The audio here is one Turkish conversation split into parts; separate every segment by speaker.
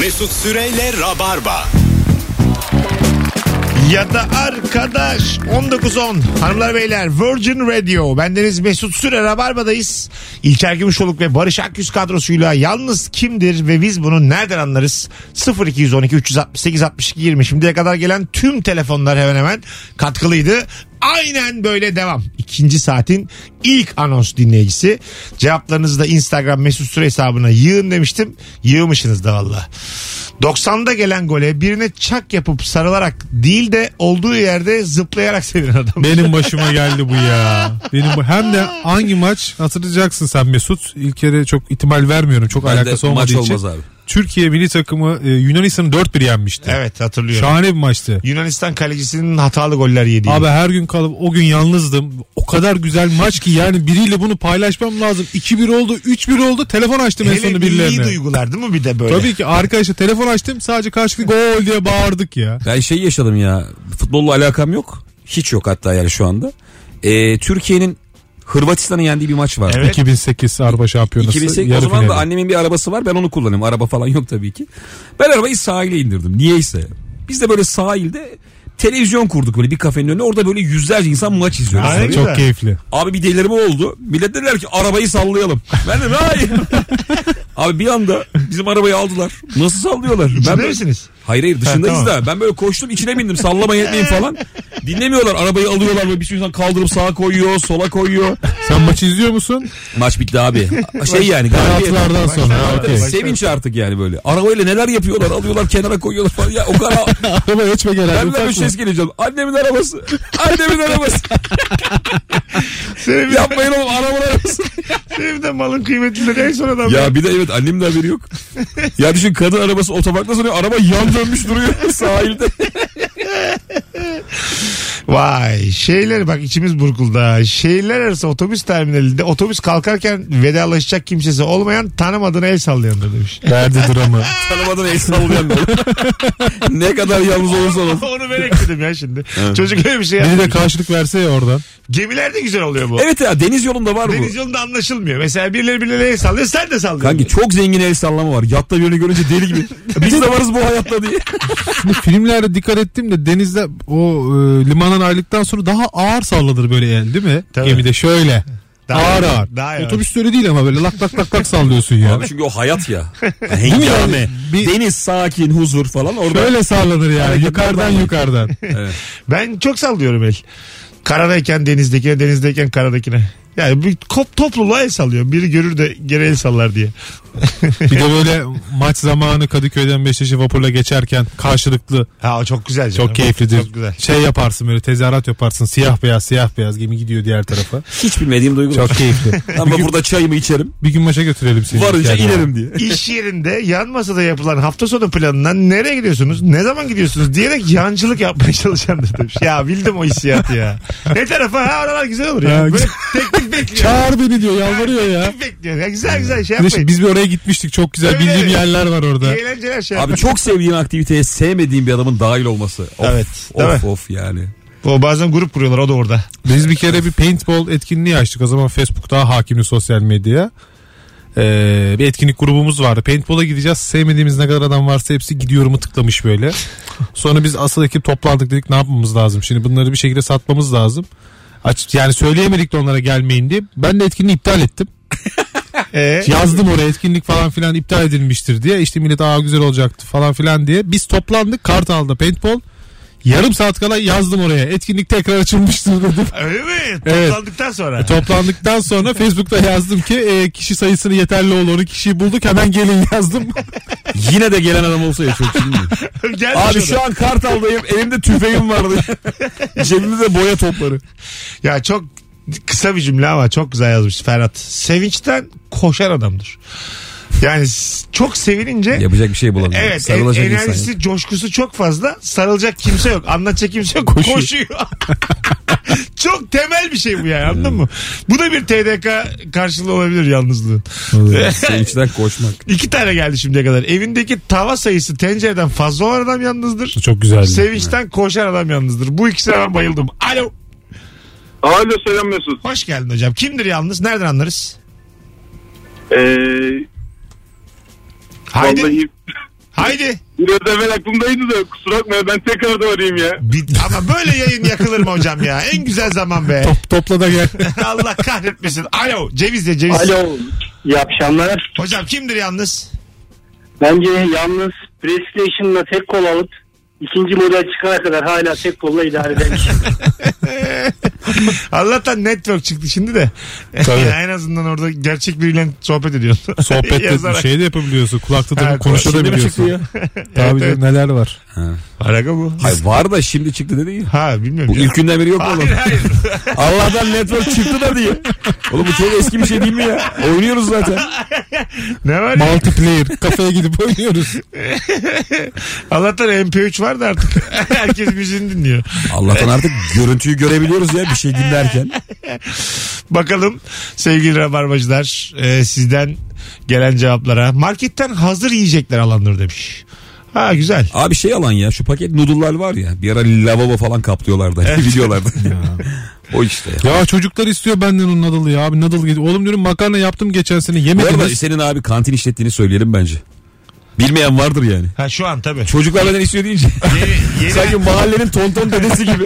Speaker 1: Mesut Süreyle Rabarba.
Speaker 2: Ya da arkadaş 19.10 hanımlar beyler Virgin Radio bendeniz Mesut Süre Rabarba'dayız İlker Gümüşoluk ve Barış Akyüz kadrosuyla yalnız kimdir ve biz bunu nereden anlarız 0212 368 62 20 şimdiye kadar gelen tüm telefonlar hemen hemen katkılıydı Aynen böyle devam. İkinci saatin ilk anons dinleyicisi. Cevaplarınızı da Instagram mesut süre hesabına yığın demiştim. Yığmışsınız da valla. 90'da gelen gole birine çak yapıp sarılarak değil de olduğu yerde zıplayarak sevinen adam.
Speaker 3: Benim başıma geldi bu ya. Benim bu- hem de hangi maç hatırlayacaksın sen Mesut? İlk kere çok ihtimal vermiyorum. Çok
Speaker 4: Ben de
Speaker 3: alakası olmadığı
Speaker 4: maç
Speaker 3: için.
Speaker 4: olmaz abi.
Speaker 3: Türkiye milli takımı e, Yunanistan'ı 4-1 yenmişti.
Speaker 2: Evet hatırlıyorum.
Speaker 3: Şahane bir maçtı.
Speaker 2: Yunanistan kalecisinin hatalı goller yediği.
Speaker 3: Abi her gün kalıp o gün yalnızdım. O kadar güzel maç ki yani biriyle bunu paylaşmam lazım. 2-1 oldu, 3-1 oldu. Telefon açtım en
Speaker 2: Hele
Speaker 3: sonunda
Speaker 2: milli
Speaker 3: birilerine.
Speaker 2: duygular değil mi bir de böyle?
Speaker 3: Tabii ki arkadaşlar telefon açtım sadece karşılıklı gol diye bağırdık ya.
Speaker 4: Ben şey yaşadım ya. Futbolla alakam yok. Hiç yok hatta yani şu anda. Ee, Türkiye'nin Hırvatistan'ı yendiği bir maç var.
Speaker 2: Evet.
Speaker 3: 2008 Avrupa Şampiyonası
Speaker 4: 2008 o
Speaker 3: yarı
Speaker 4: zaman
Speaker 3: finali.
Speaker 4: da annemin bir arabası var ben onu kullanıyorum. Araba falan yok tabii ki. Ben arabayı sahile indirdim. Niyeyse. Biz de böyle sahilde televizyon kurduk böyle bir kafenin önüne. Orada böyle yüzlerce insan maç izliyor.
Speaker 2: Aynen.
Speaker 4: Abi.
Speaker 3: Çok
Speaker 2: Güzel.
Speaker 3: keyifli.
Speaker 4: Abi bir delirme oldu. Millet dediler ki arabayı sallayalım. Ben de hayır. Abi bir anda bizim arabayı aldılar. Nasıl sallıyorlar?
Speaker 2: İçinde
Speaker 4: ben böyle-
Speaker 2: misiniz?
Speaker 4: Hayır hayır dışındayız
Speaker 2: Ha, tamam.
Speaker 4: da ben böyle koştum içine bindim sallama etmeyin falan. Dinlemiyorlar arabayı alıyorlar böyle bir sürü insan kaldırıp sağa koyuyor sola koyuyor.
Speaker 3: Sen maçı izliyor musun?
Speaker 4: Maç bitti abi. Şey yani galibiyet.
Speaker 3: Penaltılardan sonra. ha, okey.
Speaker 4: Sevinç artık yani böyle. Arabayla neler yapıyorlar alıyorlar kenara koyuyorlar falan. Ya o kadar
Speaker 3: Araba geçme gelen.
Speaker 4: ben de
Speaker 3: ufak
Speaker 4: bir
Speaker 3: mı?
Speaker 4: ses geleceğim. Annemin arabası. Annemin arabası.
Speaker 2: Senin,
Speaker 4: Yapmayın oğlum arabanın arabası.
Speaker 2: senin de malın kıymetli en son adam.
Speaker 4: Ya bir de evet annemin de haberi yok. Ya düşün kadın arabası otoparkta sanıyor. Araba yan dönmüş duruyor sahilde.
Speaker 2: Vay şeyler bak içimiz burkuldu. ha. Şehirler arası otobüs terminalinde otobüs kalkarken vedalaşacak kimsesi olmayan tanımadığına el sallayandır demiş.
Speaker 3: Verdi dramı.
Speaker 4: Tanımadan el sallayan böyle. ne kadar yalnız olursa olsun.
Speaker 2: Onu ben ekledim ya şimdi. Çocuk öyle bir şey
Speaker 3: Biri de
Speaker 2: yapmış.
Speaker 3: karşılık verse ya oradan.
Speaker 2: Gemilerde güzel oluyor bu.
Speaker 4: Evet ya deniz yolunda var bu.
Speaker 2: Deniz yolunda anlaşılmıyor. Mesela birileri birilerine el sallıyor sen de sallıyorsun.
Speaker 4: Kanki çok zengin el sallama var. Yatta birini görünce deli gibi. Biz de varız bu hayatta diye.
Speaker 3: Şimdi filmlerde dikkat ettim de denizde o e, limandan ayrıldıktan sonra daha ağır salladır böyle el değil mi?
Speaker 2: Tabii.
Speaker 3: Gemide şöyle.
Speaker 2: Daha
Speaker 3: ağır
Speaker 2: ağır,
Speaker 3: ağır.
Speaker 2: daha ağır.
Speaker 3: Otobüs öyle değil ama böyle lak lak lak lak sallıyorsun ya.
Speaker 4: Abi çünkü o hayat ya.
Speaker 3: mi yani?
Speaker 4: Hengame.
Speaker 3: Bir-
Speaker 4: Deniz sakin, huzur falan orada.
Speaker 3: Böyle sallanır yani yukarıdan yukarıdan.
Speaker 2: Ben çok sallıyorum el. Karadayken denizdekine, denizdeyken karadakine. Yani bir kop topluluğa el sallıyor. Biri görür de geri el sallar diye.
Speaker 3: Bir de böyle maç zamanı Kadıköy'den Beşiktaş'a vapurla geçerken karşılıklı
Speaker 2: Ha o çok güzel. canım.
Speaker 3: çok keyiflidir.
Speaker 2: Çok güzel.
Speaker 3: Şey yaparsın böyle tezahürat yaparsın siyah beyaz siyah beyaz gemi gidiyor diğer tarafa.
Speaker 4: Hiç bilmediğim duygu.
Speaker 3: Çok keyifli.
Speaker 4: Ama burada çayımı içerim.
Speaker 3: Bir gün maça götürelim seni.
Speaker 4: Varınca
Speaker 3: Yani.
Speaker 4: inerim diye.
Speaker 2: İş yerinde yan masada yapılan hafta sonu planından nereye gidiyorsunuz? Ne zaman gidiyorsunuz? diyerek yancılık yapmaya çalışandır demiş. Ya bildim o hissiyatı ya. Ne tarafa? Ha oralar güzel olur ya.
Speaker 3: Ha,
Speaker 2: Böyle
Speaker 3: güzel.
Speaker 2: teknik bekliyor.
Speaker 3: Çağır beni diyor yalvarıyor ya.
Speaker 2: Teknik bekliyor. Ya güzel güzel şey
Speaker 3: Bir de şimdi
Speaker 2: yapmayın.
Speaker 3: biz bir oraya gitmiştik çok güzel
Speaker 2: Öyle
Speaker 3: bildiğim
Speaker 2: mi?
Speaker 3: yerler var orada.
Speaker 2: Eğlenceler şey
Speaker 4: Abi
Speaker 2: yapmayın.
Speaker 4: çok sevdiğin aktiviteye sevmediğin bir adamın dahil olması. Of,
Speaker 2: Evet, değil
Speaker 4: Of of yani.
Speaker 2: O bazen grup kuruyorlar o da orada.
Speaker 3: Biz bir kere bir paintball etkinliği açtık o zaman Facebook daha hakimdi sosyal medyaya. Ee, bir etkinlik grubumuz vardı. Paintball'a gideceğiz. Sevmediğimiz ne kadar adam varsa hepsi gidiyorumu tıklamış böyle. Sonra biz asıl ekip toplandık dedik ne yapmamız lazım. Şimdi bunları bir şekilde satmamız lazım. Aç, yani söyleyemedik de onlara gelmeyin diye. Ben de etkinliği iptal ettim.
Speaker 2: Ee,
Speaker 3: Yazdım oraya etkinlik falan filan iptal edilmiştir diye. İşte millet aa güzel olacaktı falan filan diye. Biz toplandık Kartal'da paintball. Yarım saat kala yazdım oraya. Etkinlik tekrar açılmıştır dedim.
Speaker 2: öyle mi?
Speaker 3: Evet.
Speaker 2: Toplandıktan sonra.
Speaker 4: E,
Speaker 3: Toplandıktan sonra Facebook'ta yazdım ki e, kişi sayısını yeterli olur. Kişiyi bulduk hemen gelin yazdım.
Speaker 4: Yine de gelen adam olsa ya çok iyi.
Speaker 2: Gelmiş
Speaker 4: Abi
Speaker 2: o da.
Speaker 4: şu an Kartal'dayım. Elimde tüfeğim vardı. Cebimde de boya topları.
Speaker 2: Ya çok kısa bir cümle ama çok güzel yazmış Ferhat. Sevinçten koşar adamdır. Yani s- çok sevinince
Speaker 4: Yapacak bir şey bulamıyorum.
Speaker 2: Evet en- enerjisi coşkusu çok fazla sarılacak kimse yok anlatacak kimse yok koşuyor.
Speaker 3: Koşuyor.
Speaker 2: çok temel bir şey bu yani anladın mı? Bu da bir TDK karşılığı olabilir yalnızlığın.
Speaker 4: Sevinçten koşmak.
Speaker 2: İki tane geldi şimdiye kadar. Evindeki tava sayısı tencereden fazla olan adam yalnızdır.
Speaker 3: Çok güzeldi.
Speaker 2: Sevinçten koşan adam yalnızdır. Bu ikisine ben bayıldım. Alo.
Speaker 5: Alo selam Mesut.
Speaker 2: Hoş geldin hocam. Kimdir yalnız? Nereden anlarız?
Speaker 5: Ee,
Speaker 2: Haydi.
Speaker 5: vallahi
Speaker 2: Haydi.
Speaker 5: Biraz evvel aklımdaydı da kusura bakma ben tekrar da arayayım ya.
Speaker 2: Bit- Ama böyle yayın yakılır mı hocam ya? En güzel zaman be.
Speaker 3: Top, topla da gel.
Speaker 2: Allah kahretmesin. Alo Cevizle Ceviz.
Speaker 6: Alo. İyi akşamlar.
Speaker 2: Hocam kimdir yalnız?
Speaker 6: Bence yalnız PlayStation'la tek kol alıp ikinci model çıkana kadar hala tek kolla idare eden kişi.
Speaker 2: Allah'tan network çıktı şimdi de.
Speaker 3: Tabii.
Speaker 2: en azından orada gerçek biriyle sohbet ediyorsun.
Speaker 3: Sohbet de
Speaker 2: Yazarak.
Speaker 3: şey de yapabiliyorsun. Kulakta
Speaker 2: Ha,
Speaker 3: da konuşabiliyorsun.
Speaker 4: ya?
Speaker 3: Tabii
Speaker 2: Evet, evet.
Speaker 3: canım, neler var.
Speaker 2: Araka bu.
Speaker 4: Hayır var da şimdi çıktı dedi ya.
Speaker 2: Ha bilmiyorum.
Speaker 4: Bu ilk günden beri yok oğlum.
Speaker 2: Hayır hayır.
Speaker 4: Allah'tan network çıktı da diye. Oğlum bu çok eski bir şey değil mi ya? Oynuyoruz zaten.
Speaker 2: ne var ya?
Speaker 3: Multiplayer. Kafeye gidip oynuyoruz.
Speaker 2: Allah'tan MP3 var da artık. Herkes müziğini dinliyor.
Speaker 4: Allah'tan artık görüntüyü görebiliyoruz ya bir şey dinlerken.
Speaker 2: Bakalım sevgili rabarbacılar e, sizden gelen cevaplara. Marketten hazır yiyecekler alandır demiş. Ha güzel.
Speaker 4: Abi şey alan ya şu paket noodle'lar var ya bir ara lavabo falan kaplıyorlardı. Videolarda. o işte. Ya.
Speaker 3: Ya çocuklar istiyor benden onun nadalı ya. Abi nadal geliyor. Oğlum diyorum makarna yaptım geçen sene
Speaker 4: Bu arada
Speaker 3: yemediniz.
Speaker 4: senin abi kantin işlettiğini söyleyelim bence. Bilmeyen vardır yani.
Speaker 2: Ha şu an tabii.
Speaker 4: Çocuklar benden istiyor deyince.
Speaker 2: Yeni, yeni
Speaker 4: Sanki mahallenin tonton dedesi gibi.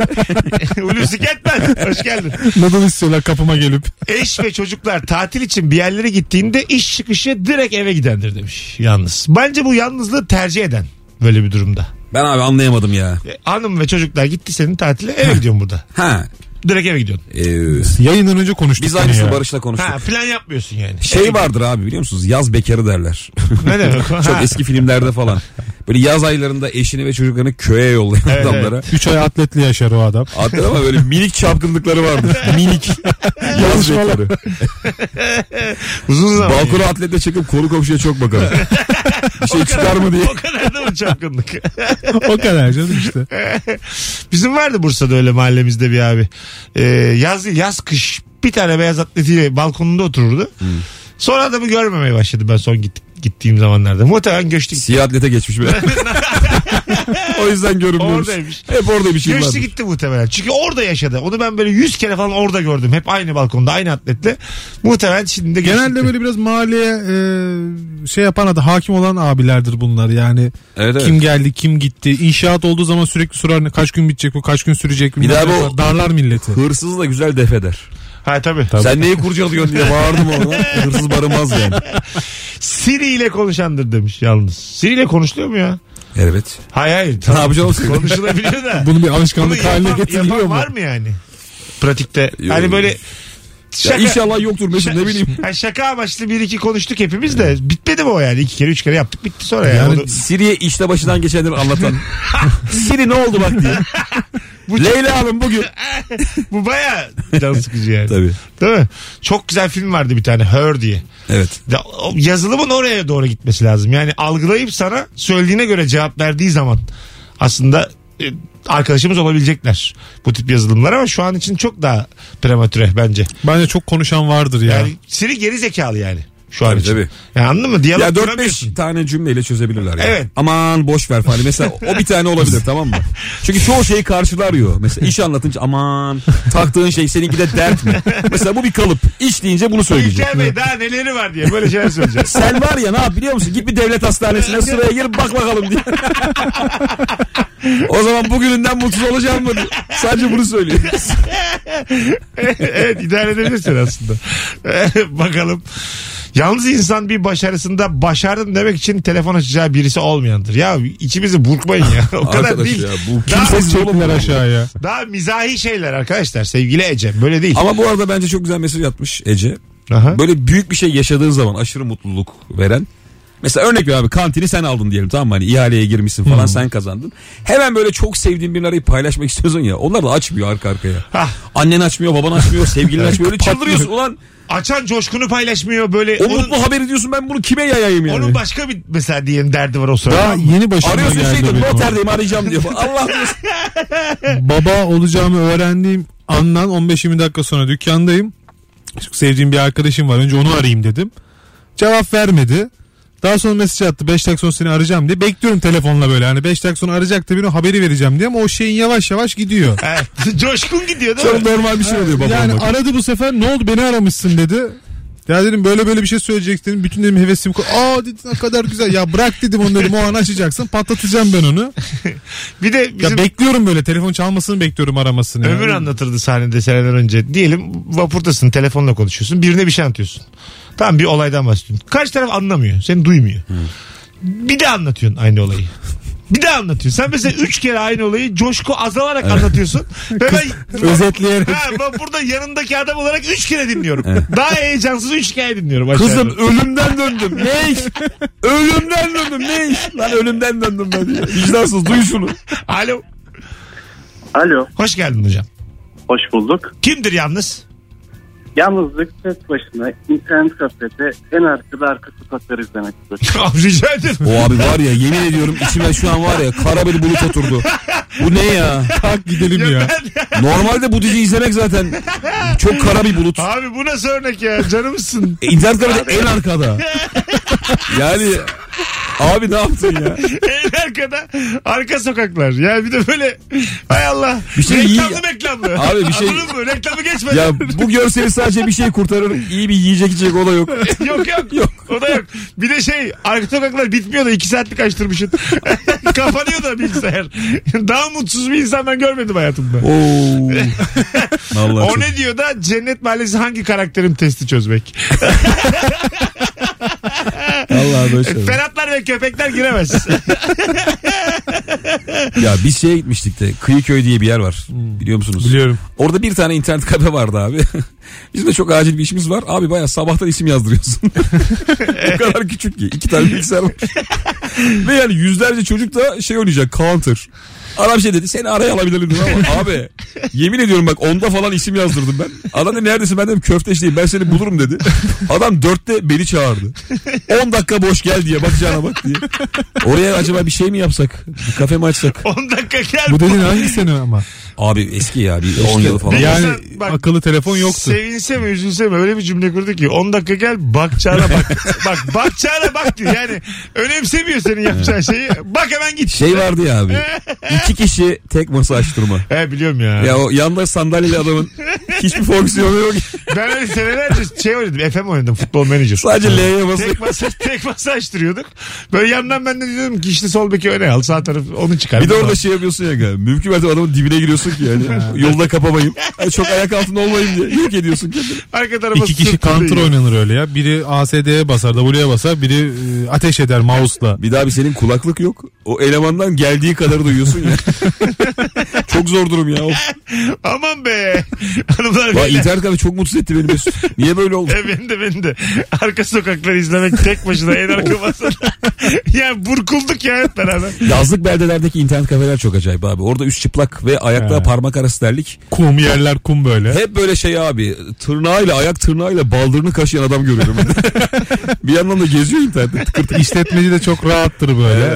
Speaker 2: Hulusi Kentmen. Hoş geldin.
Speaker 3: Nadal istiyorlar kapıma gelip.
Speaker 2: Eş ve çocuklar tatil için bir yerlere gittiğinde iş çıkışı direkt eve gidendir demiş yalnız. Bence bu yalnızlığı tercih eden böyle bir durumda.
Speaker 4: Ben abi anlayamadım ya.
Speaker 2: E, hanım ve çocuklar gitti senin tatile eve gidiyorsun burada.
Speaker 4: Ha.
Speaker 2: Direkt eve gidiyorsun.
Speaker 4: e,
Speaker 3: Yayından önce konuştuk.
Speaker 4: biz
Speaker 3: bunu
Speaker 4: aynısını
Speaker 3: ya.
Speaker 4: Barış'la konuştuk.
Speaker 2: Ha plan yapmıyorsun yani.
Speaker 4: Şey vardır abi biliyor musunuz? Yaz bekarı derler.
Speaker 2: Ne demek? o?
Speaker 4: Çok
Speaker 2: Ha.
Speaker 4: eski filmlerde falan. Böyle yaz aylarında eşini ve çocuklarını köye yollayan
Speaker 2: Evet,
Speaker 4: adamlara.
Speaker 3: Üç ay atletli yaşar o adam.
Speaker 4: Adlar ama böyle minik çapkınlıkları vardı. minik. yaz bekarı.
Speaker 2: Uzun zaman.
Speaker 4: Balkona atletle çıkıp konu komşuya çok bakarım. Bir şey çıkar mı diye.
Speaker 2: O kadar da mı çapkınlık?
Speaker 3: O kadar canım işte.
Speaker 2: Bizim vardı Bursa'da öyle mahallemizde bir abi. Ee, yaz yaz kış bir tane beyaz atletiyle balkonunda otururdu.
Speaker 3: Hmm.
Speaker 2: Sonra adamı görmemeye başladı ben son git, gittiğim zamanlarda. Muhtemelen göçtü gitti.
Speaker 4: Siyah atlete geçmiş böyle. o yüzden görünmüyoruz.
Speaker 2: Oradaymış.
Speaker 4: Hep orada bir şey vardır.
Speaker 2: Göçtü gitti muhtemelen. Çünkü orada yaşadı. Onu ben böyle 100 kere falan orada gördüm. Hep aynı balkonda aynı atletle. Muhtemelen şimdi de göçtü
Speaker 3: Genelde
Speaker 2: gitti.
Speaker 3: böyle biraz mahalleye e, şey yapan adam hakim olan abilerdir bunlar yani.
Speaker 4: Evet, evet.
Speaker 3: Kim geldi kim gitti. İnşaat olduğu zaman sürekli sorar ne- kaç gün bitecek bu kaç gün sürecek. bilmem
Speaker 4: daha
Speaker 3: ne
Speaker 4: bu-
Speaker 3: yapar. darlar milleti.
Speaker 4: Hırsızı da güzel def eder.
Speaker 2: Ha tabii.
Speaker 4: Sen neyi kurcalıyorsun diye bağırdım ona. Hırsız barınmaz yani.
Speaker 2: Siri ile konuşandır demiş yalnız. Siri ile konuşuluyor mu ya?
Speaker 4: Evet.
Speaker 2: Hayır hayır.
Speaker 4: Ne yapacağım oğlum?
Speaker 2: Konuşulabiliyor da.
Speaker 3: Bunu bir
Speaker 2: Bunu
Speaker 3: alışkanlık haline
Speaker 2: yapan-
Speaker 3: getiriliyor
Speaker 2: yapan
Speaker 3: mu?
Speaker 2: var mı yani? Pratikte.
Speaker 4: Yok.
Speaker 2: Hani böyle şaka,
Speaker 4: Ya inşallah yoktur Mesut ne bileyim.
Speaker 2: Ha, şaka amaçlı bir iki konuştuk hepimiz de. Bitmedi mi o yani? iki kere üç kere yaptık bitti sonra yani.
Speaker 3: Yani
Speaker 2: Onu-
Speaker 4: Siri'ye işte başından geçenleri anlatan. Siri ne oldu bak diye. Leyla Hanım bugün.
Speaker 2: bu baya can sıkıcı yani.
Speaker 4: Tabii.
Speaker 2: Değil mi? Çok güzel film vardı bir tane Her diye.
Speaker 4: Evet.
Speaker 2: Ya, o Yazılımın oraya doğru gitmesi lazım. Yani algılayıp sana söylediğine göre cevap verdiği zaman aslında e, arkadaşımız olabilecekler bu tip yazılımlar ama şu an için çok daha prematüre bence.
Speaker 3: Bence çok konuşan vardır ya.
Speaker 2: Yani Siri geri zekalı yani şu an
Speaker 4: Tabii,
Speaker 2: için.
Speaker 4: tabii.
Speaker 2: Yani anladın mı? Diyalog
Speaker 4: Ya 4-5
Speaker 2: kuramıyorsun.
Speaker 4: tane cümleyle çözebilirler. Yani.
Speaker 2: Evet.
Speaker 4: Aman boş ver falan. Mesela o bir tane olabilir tamam mı? Çünkü çoğu şeyi karşılar yo. Mesela iş anlatınca aman taktığın şey seninki de dert mi? Mesela bu bir kalıp. İş deyince bunu söyleyecek.
Speaker 2: İlker Bey daha neleri var diye böyle şeyler söyleyeceğiz.
Speaker 4: Sen var ya ne yap biliyor musun? Git bir devlet hastanesine sıraya gir bak bakalım diye. o zaman bugününden mutsuz olacağım mı? diye. Sadece bunu söylüyor.
Speaker 2: evet idare edebilirsin aslında. Bakalım. Yalnız insan bir başarısında başardım demek için telefon açacağı birisi olmayandır. Ya içimizi burkmayın ya. O kadar
Speaker 4: Arkadaş
Speaker 2: değil.
Speaker 4: ya, bu
Speaker 2: daha,
Speaker 3: Ses çektiler aşağıya.
Speaker 2: daha mizahi şeyler arkadaşlar sevgili Ece. Böyle değil.
Speaker 4: Ama bu arada bence çok güzel mesaj atmış Ece.
Speaker 2: Aha.
Speaker 4: Böyle büyük bir şey yaşadığın zaman aşırı mutluluk veren. Mesela örnek ver abi kantini sen aldın diyelim tamam mı? Hani ihaleye girmişsin falan
Speaker 2: Hmm.
Speaker 4: sen kazandın. Hemen böyle çok sevdiğin birini arayıp paylaşmak istiyorsun ya. Onlar da açmıyor arka arkaya.
Speaker 2: Hah.
Speaker 4: Annen açmıyor, baban açmıyor, sevgilin açmıyor. Öyle çıldırıyorsun ulan.
Speaker 2: Açan coşkunu paylaşmıyor böyle.
Speaker 4: O
Speaker 2: onun,
Speaker 4: mutlu haberi diyorsun ben bunu kime yayayım yani?
Speaker 2: onun başka bir mesela diyelim derdi var o sırada.
Speaker 3: Daha yeni başıma
Speaker 4: Arıyorsun şey
Speaker 3: geldi.
Speaker 4: diyor
Speaker 3: benim o.
Speaker 4: noterdeyim arayacağım diyor. Allah diyorsun.
Speaker 3: Baba olacağımı öğrendiğim andan 15-20 dakika sonra dükkandayım. Çok sevdiğim bir arkadaşım var. Önce onu arayayım dedim. Cevap vermedi. Daha sonra mesaj attı. 5 dakika sonra seni arayacağım diye. Bekliyorum telefonla böyle. Hani 5 dakika sonra arayacak da bir haberi vereceğim diye ama o şeyin yavaş yavaş gidiyor.
Speaker 2: Evet. Coşkun gidiyor değil mi?
Speaker 4: Çok normal bir şey oluyor babamla.
Speaker 3: Yani aradı bu sefer ne oldu beni aramışsın dedi. Ya dedim böyle böyle bir şey söyleyecektin. Bütün dedim hevesim. ko- Aa dedim ne kadar güzel. Ya bırak dedim onu dedim. O an açacaksın. Patlatacağım ben onu.
Speaker 2: Bir de
Speaker 3: Ya
Speaker 2: bizim
Speaker 3: bekliyorum böyle. Telefon çalmasını bekliyorum aramasını. ya.
Speaker 2: Ömür anlatırdı sahnede seneler önce. Diyelim vapurtasın telefonla konuşuyorsun. Birine bir şey anlatıyorsun. Tamam bir olaydan bahsediyorsun. Karşı taraf anlamıyor. Seni duymuyor. Bir de anlatıyorsun aynı olayı. Bir daha anlatıyorsun. Sen mesela üç kere aynı olayı coşku azalarak anlatıyorsun. Ve ben
Speaker 3: özetleyerek.
Speaker 2: Ha, ben burada yanındaki adam olarak üç kere dinliyorum. Daha heyecansız üç kere dinliyorum. aşağıda.
Speaker 4: Kızım ölümden döndüm. Ne iş? ölümden döndüm. Ne iş? Lan ölümden döndüm ben. diye. Vicdansız duy şunu.
Speaker 2: Alo.
Speaker 6: Alo
Speaker 2: Hoş geldin hocam.
Speaker 6: hoş bulduk.
Speaker 2: Kimdir yalnız?
Speaker 6: Yalnızlık tek başına internet kafede en arkada arka sokakları izlemek istedim.
Speaker 2: Rica ederim.
Speaker 4: O abi var ya yemin ediyorum içime şu an var ya kara bir bulut oturdu. Bu ne ya?
Speaker 3: Kalk gidelim ya.
Speaker 4: Normalde bu dizi izlemek zaten çok kara bir bulut.
Speaker 2: Abi bu nasıl örnek ya? Canımsın.
Speaker 4: E, İnternet kafede en arkada. Yani abi ne yaptın ya?
Speaker 2: en arkada arka sokaklar. Yani bir de böyle hay Allah.
Speaker 4: Bir şey iyi-
Speaker 2: reklamlı reklamlı.
Speaker 4: Abi bir şey-
Speaker 2: Anladın mı? Reklamı geçmedi.
Speaker 4: Ya bu görseli sadece bir şey kurtarır. İyi bir yiyecek içecek o da yok.
Speaker 2: yok yok.
Speaker 4: Yok.
Speaker 2: O da yok. Bir de şey arka sokaklar bitmiyor da iki saatlik açtırmışsın. Kapanıyor da bilgisayar. Daha mutsuz bir insan ben görmedim hayatımda.
Speaker 4: Oo. Vallahi
Speaker 2: O
Speaker 4: çok-
Speaker 2: ne diyor da Cennet Mahallesi hangi karakterin testi çözmek?
Speaker 4: Vallahi böyle şey şeyler.
Speaker 2: Ferhatlar ve köpekler giremez.
Speaker 4: Ya biz şeye gitmiştik de Kıyıköy diye bir yer var. Biliyor musunuz?
Speaker 3: Biliyorum.
Speaker 4: Orada bir tane internet kafe vardı abi. Bizim de çok acil bir işimiz var. Abi bayağı sabahtan isim yazdırıyorsun. o kadar küçük ki. iki tane bilgisayar var. Ve yani yüzlerce çocuk da şey oynayacak counter. Adam şey dedi seni araya alabilirim dedim ama abi yemin ediyorum bak onda falan isim yazdırdım ben. Adam dedi neredesin ben dedim köfteş değil ben seni bulurum dedi. Adam dörtte beni çağırdı. 10 dakika boş gel diye bakacağına bak diye. Oraya acaba bir şey mi yapsak? Bir kafe mi açsak?
Speaker 2: 10 dakika gel.
Speaker 3: Bu dediğin hangi sene ama?
Speaker 4: Abi eski ya bir 10 yıl falan.
Speaker 2: Ya-
Speaker 3: Yani
Speaker 2: Sen- bak- şey
Speaker 3: akıllı telefon yoktu.
Speaker 2: Sevinse mi üzülse mi öyle bir cümle kurdu ki 10 dakika gel bakacağına bak. bak bakacağına bak diyor. Yani önemsemiyor senin yapacağın şeyi. Bak hemen git.
Speaker 4: Şey vardı ya abi. iki kişi tek masa açtırma.
Speaker 2: He biliyorum ya.
Speaker 4: Ya o yanda sandalyeli adamın hiçbir fonksiyonu yok.
Speaker 2: Ben öyle senelerce şey oynadım. FM oynadım. Futbol menajer.
Speaker 4: Sadece L'ye basıyor.
Speaker 2: Tek masa, tek masa açtırıyorduk. Böyle yandan ben de dedim ki işte sol beki öne al sağ taraf onu çıkar.
Speaker 4: Bir de orada şey yapıyorsun ya galiba. Mümkün mertebe adamın dibine giriyorsun ki yani. Yolda kapamayın. Yani çok ayak altında olmayayım diye. Yok ediyorsun kendini.
Speaker 2: arka tarafa
Speaker 3: İki kişi
Speaker 2: sırtını
Speaker 3: counter
Speaker 2: dayıyor.
Speaker 3: oynanır öyle ya. Biri ASD'ye basar, W'ye basar. Biri e, ateş eder mouse'la.
Speaker 4: Bir daha bir senin kulaklık yok. O elemandan geldiği kadar duyuyorsun ya. çok zor durum ya. Of.
Speaker 2: Aman be. Hanımlar
Speaker 4: Vay,
Speaker 2: beyler.
Speaker 4: internet kafe çok mutsuz etti beni Mesut. Niye böyle oldu?
Speaker 2: E, beni de beni de. Arka sokakları izlemek tek başına en arka masada. ya burkulduk ya hep beraber.
Speaker 4: Yazlık beldelerdeki internet kafeler çok acayip abi. Orada üst çıplak ve ayakta
Speaker 3: He.
Speaker 4: parmak arası terlik.
Speaker 3: Kum yerler kum böyle.
Speaker 4: Hep böyle şey abi tırnağıyla ayak tırnağıyla baldırını kaşıyan adam görüyorum. bir yandan da geziyor internette tıkır tıkır.
Speaker 3: İşletmeci de çok rahattır böyle.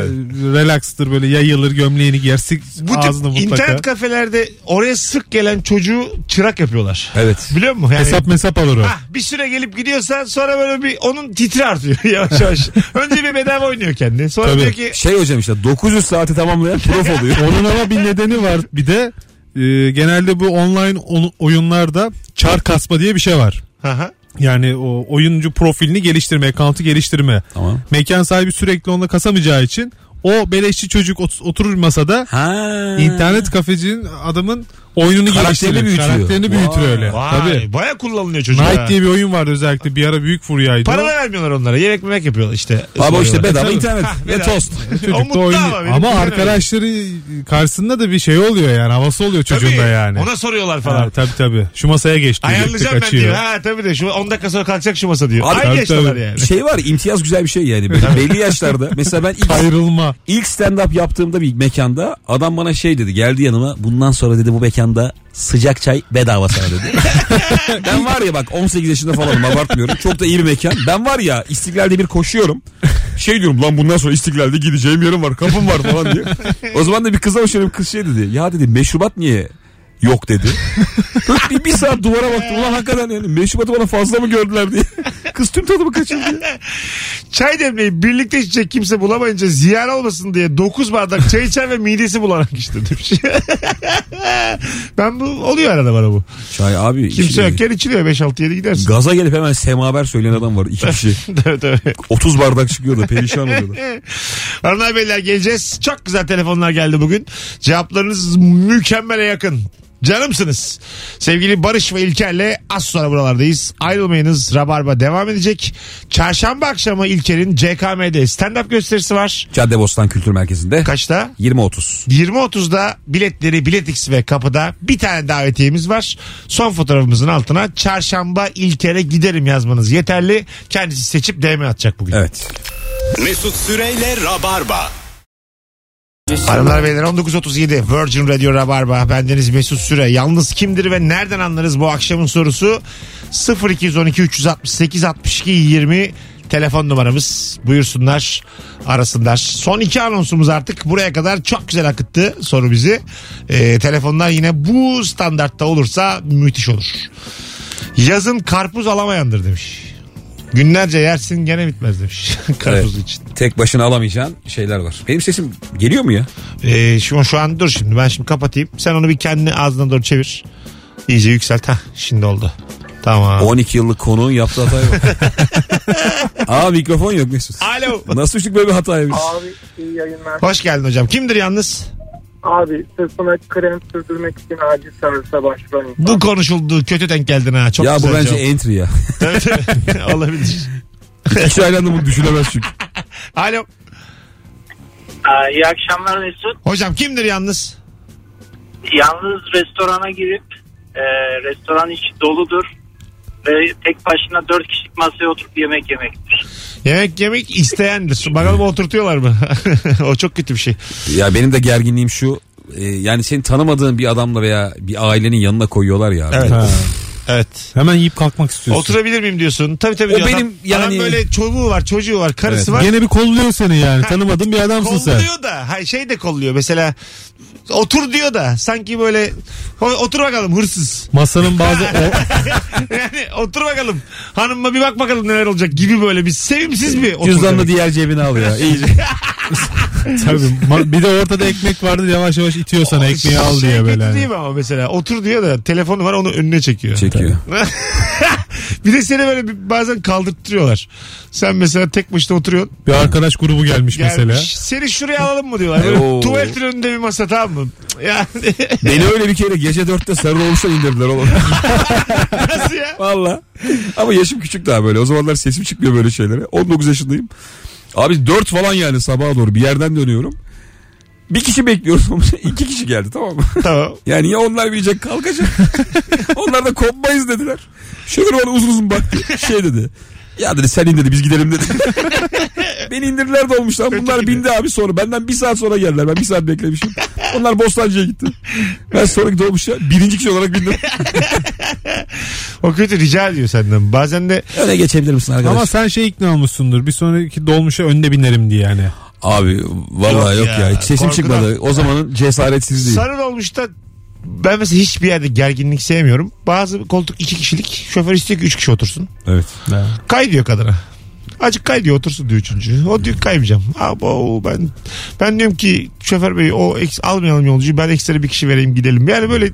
Speaker 3: Relaxtır böyle yayılır gömleğini giyer. Sık
Speaker 2: Bu tip
Speaker 3: ağzını mutlaka.
Speaker 2: internet kafelerde oraya sık gelen çocuğu çırak yapıyorlar.
Speaker 4: Evet.
Speaker 2: Biliyor musun? Yani,
Speaker 3: Hesap mesap alır o.
Speaker 2: Ah, bir süre gelip gidiyorsa sonra böyle bir onun titri artıyor yavaş yavaş. Önce bir bedava oynuyor kendi. Sonra
Speaker 3: Tabii.
Speaker 2: diyor ki
Speaker 4: Şey hocam işte 900 saati tamamlayan prof oluyor.
Speaker 3: Onun ama bir nedeni var. Bir de e, genelde bu online o- oyunlarda çar kasma diye bir şey var.
Speaker 2: Aha.
Speaker 3: Yani o oyuncu profilini geliştirme, account'u geliştirme.
Speaker 4: Tamam.
Speaker 3: Mekan sahibi sürekli onunla kasamayacağı için o beleşçi çocuk ot- oturur masada
Speaker 4: Ha.
Speaker 3: internet kafecinin adamın oyununu
Speaker 4: Karakterini
Speaker 3: geliştirir.
Speaker 4: büyütüyor.
Speaker 3: Karakterini büyütür öyle. Tabii.
Speaker 2: Vay, baya kullanılıyor çocuk. ha.
Speaker 3: Night diye bir şey oyun vardı özellikle bir ara büyük furyaydı.
Speaker 2: Para da vermiyorlar onlara. Yemek memek yapıyorlar işte.
Speaker 4: Abi o işte
Speaker 2: Soruyorlar.
Speaker 4: bedava
Speaker 3: Tabii.
Speaker 4: internet
Speaker 2: Ha,
Speaker 4: ve
Speaker 2: bedava.
Speaker 4: tost.
Speaker 2: O
Speaker 3: Çocuk da
Speaker 2: mutlu
Speaker 3: oynuyor.
Speaker 2: benim
Speaker 3: Ama
Speaker 2: kuzenim
Speaker 3: arkadaşları karşısında da bir şey oluyor yani havası oluyor
Speaker 2: öyle.
Speaker 3: çocuğun da
Speaker 2: Tabii,
Speaker 3: yani.
Speaker 2: Ona soruyorlar falan.
Speaker 3: Ha, tabii tabii. Şu masaya geç diyor.
Speaker 2: Ayarlayacağım ben
Speaker 3: Tek açıyor.
Speaker 2: diyor. Ha tabii de şu 10 dakika sonra kalkacak şu masa diyor.
Speaker 4: Abi,
Speaker 2: Ay
Speaker 3: tabii,
Speaker 2: geçtiler
Speaker 3: tabii.
Speaker 2: yani.
Speaker 4: Şey var imtiyaz güzel bir şey yani. Böyle belli yaşlarda. Mesela ben ilk,
Speaker 3: Ayrılma.
Speaker 4: ilk stand up yaptığımda bir mekanda adam bana şey dedi geldi yanıma bundan sonra dedi bu mekanda sıcak çay bedava sana dedi. ben var ya bak 18 yaşında falanım abartmıyorum. Çok da iyi bir mekan. Ben var ya istiklalde bir koşuyorum. Şey diyorum lan bundan sonra istiklalde gideceğim yerim var kapım var falan diye. O zaman da bir kıza hoşlanıyorum kız şey dedi. Ya dedi meşrubat niye Yok dedi. Böyle bir, bir saat duvara baktım. Ulan hakikaten yani meşrubatı bana fazla mı gördüler diye. Kız tüm tadımı kaçırdı.
Speaker 2: Çay demleyip birlikte içecek kimse bulamayınca ziyan olmasın diye 9 bardak çay içer ve midesi bulanak işte demiş. ben bu oluyor arada bana bu.
Speaker 4: Çay abi.
Speaker 2: Kimse
Speaker 4: içine-
Speaker 2: yokken içiliyor 5-6-7 gidersin.
Speaker 4: Gaza gelip hemen semaver söyleyen adam var. iki kişi.
Speaker 2: tabii tabii.
Speaker 4: 30 bardak çıkıyordu. Perişan oluyordu.
Speaker 2: Hanımlar beyler geleceğiz. Çok güzel telefonlar geldi bugün. Cevaplarınız mükemmele yakın. Canımsınız. Sevgili Barış ve İlker'le az sonra buralardayız. Ayrılmayınız. Rabarba devam edecek. Çarşamba akşamı İlker'in CKM'de stand-up gösterisi var.
Speaker 4: Caddebostan Kültür Merkezi'nde.
Speaker 2: Kaçta?
Speaker 4: 20.30.
Speaker 2: 20.30'da biletleri Biletix ve kapıda bir tane davetiyemiz var. Son fotoğrafımızın altına çarşamba İlker'e giderim yazmanız yeterli. Kendisi seçip DM atacak bugün.
Speaker 4: Evet.
Speaker 1: Mesut Süreyle Rabarba.
Speaker 2: Hanımlar beyler 1937 Virgin Radio Rabarba bendeniz Mesut Süre yalnız kimdir ve nereden anlarız bu akşamın sorusu 0212 368 62 20 telefon numaramız buyursunlar arasınlar son iki anonsumuz artık buraya kadar çok güzel akıttı soru bizi Ee, telefonlar yine bu standartta olursa müthiş olur yazın karpuz alamayandır demiş günlerce yersin gene bitmez demiş karpuz
Speaker 4: Evet.
Speaker 2: için
Speaker 4: Tek başına alamayacağın şeyler var. Benim sesim geliyor mu ya?
Speaker 2: Ee, şu, şu an dur şimdi ben şimdi kapatayım. Sen onu bir kendini ağzına doğru çevir. İyice yükselt. Hah şimdi oldu. Tamam.
Speaker 4: 12 yıllık konuğun yaptığı hataya bak. Aa mikrofon yok Mesut.
Speaker 2: Alo.
Speaker 4: Nasıl düştük böyle bir hataya biz?
Speaker 7: Abi iyi yayınlar.
Speaker 2: Hoş geldin hocam. Kimdir yalnız?
Speaker 7: Abi sırtına krem sürdürmek için acil servise başvuran insan.
Speaker 2: Bu konuşuldu. Kötü denk geldin ha. Çok
Speaker 4: ya bu
Speaker 2: güzel
Speaker 4: bence
Speaker 2: cevap.
Speaker 4: entry ya.
Speaker 2: Evet, evet. Olabilir.
Speaker 4: İki aynı anda bunu düşünemez çünkü.
Speaker 2: Alo.
Speaker 8: Aa, İyi akşamlar Mesut.
Speaker 2: Hocam kimdir yalnız?
Speaker 8: Yalnız restorana girip e, restoran içi doludur ve tek başına dört kişilik masaya oturup yemek yemektir.
Speaker 2: Yemek yemek isteyendir. Bakalım oturtuyorlar mı? o çok kötü bir şey.
Speaker 4: Ya benim de gerginliğim şu. e, yani seni tanımadığın bir adamla veya bir ailenin yanına koyuyorlar ya.
Speaker 2: Evet.
Speaker 3: Ha.
Speaker 2: Evet.
Speaker 3: Hemen yiyip kalkmak istiyorsun.
Speaker 2: Oturabilir miyim diyorsun. Tabii tabii.
Speaker 4: O
Speaker 2: diyor adam.
Speaker 4: benim
Speaker 2: Adam
Speaker 4: yani-
Speaker 2: böyle çoluğu var, çocuğu var, karısı var.
Speaker 3: Gene bir kolluyor seni yani. Tanımadığın bir adamsın sen.
Speaker 2: kolluyor da hay şey de kolluyor mesela otur diyor da sanki böyle "Ho- otur bakalım hırsız.
Speaker 3: Masanın bazı o,
Speaker 2: yani otur bakalım hanımma bir bak bakalım neler olacak gibi böyle bir sevimsiz bir otur
Speaker 4: Cüzdanını
Speaker 2: demek.
Speaker 4: diğer cebine al ya. İyice.
Speaker 3: tabii, ma- bir de ortada ekmek vardı yavaş yavaş itiyor sana ekmeği al
Speaker 2: Şey
Speaker 3: diye
Speaker 2: kötü
Speaker 3: böyle.
Speaker 2: değil
Speaker 3: hani.
Speaker 2: mi ama mesela otur diyor da telefonu var onu önüne çekiyor.
Speaker 4: Çekiyor.
Speaker 2: bir de seni böyle bir- bazen kaldırttırıyorlar. Sen mesela tek başına oturuyorsun.
Speaker 3: Bir arkadaş grubu gelmiş,
Speaker 2: Gelmiş.
Speaker 3: mesela.
Speaker 2: Seni şuraya alalım mı diyorlar. Böyle
Speaker 4: Oo.
Speaker 2: tuvaletin önünde bir masa tamam mı? Yani
Speaker 4: Beni öyle bir kere gece dörtte sarılamıştan indirdiler oğlum.
Speaker 2: nasıl ya?
Speaker 4: Valla. Ama yaşım küçük daha böyle. O zamanlar sesim çıkmıyor böyle şeylere. 19 yaşındayım. Abi 4 falan yani sabaha doğru bir yerden dönüyorum. Bir kişi bekliyorum. İki kişi geldi tamam mı?
Speaker 2: Tamam.
Speaker 4: Yani ya onlar bilecek kalkacak. onlar da kopmayız dediler. Şöyle bana uzun uzun baktı. Şey dedi. Ya dedi sen in dedi biz gidelim dedi. Beni indirdiler de olmuş lan. Bunlar bindi abi sonra. Benden bir saat sonra geldiler. Ben bir saat beklemişim. Onlar Bostancı'ya gitti. Ben sonraki dolmuşa birinci kişi olarak bindim.
Speaker 2: O kötü rica ediyor senden. Bazen de
Speaker 4: Öne geçebilir misin arkadaş?
Speaker 3: Ama sen şey ikna olmuşsundur. Bir sonraki dolmuşa önde binerim diye hani. yani.
Speaker 4: Abi vallahi
Speaker 2: Yok
Speaker 4: yok,
Speaker 2: ya,
Speaker 4: ya. Hiç sesim
Speaker 2: korkudan.
Speaker 4: çıkmadı. O zamanın cesaretsizliği.
Speaker 2: Sarı olmuş da ben mesela hiçbir yerde gerginlik sevmiyorum. Bazı koltuk iki kişilik. Şoför istiyor ki üç kişi otursun.
Speaker 4: Evet.
Speaker 2: Kay diyor kadına. Acık kay diyor otursun diyor üçüncü. O diyor kaymayacağım. Abo ben ben diyorum ki şoför bey o eks, almayalım yolcuyu ben ekstra bir kişi vereyim gidelim. Yani böyle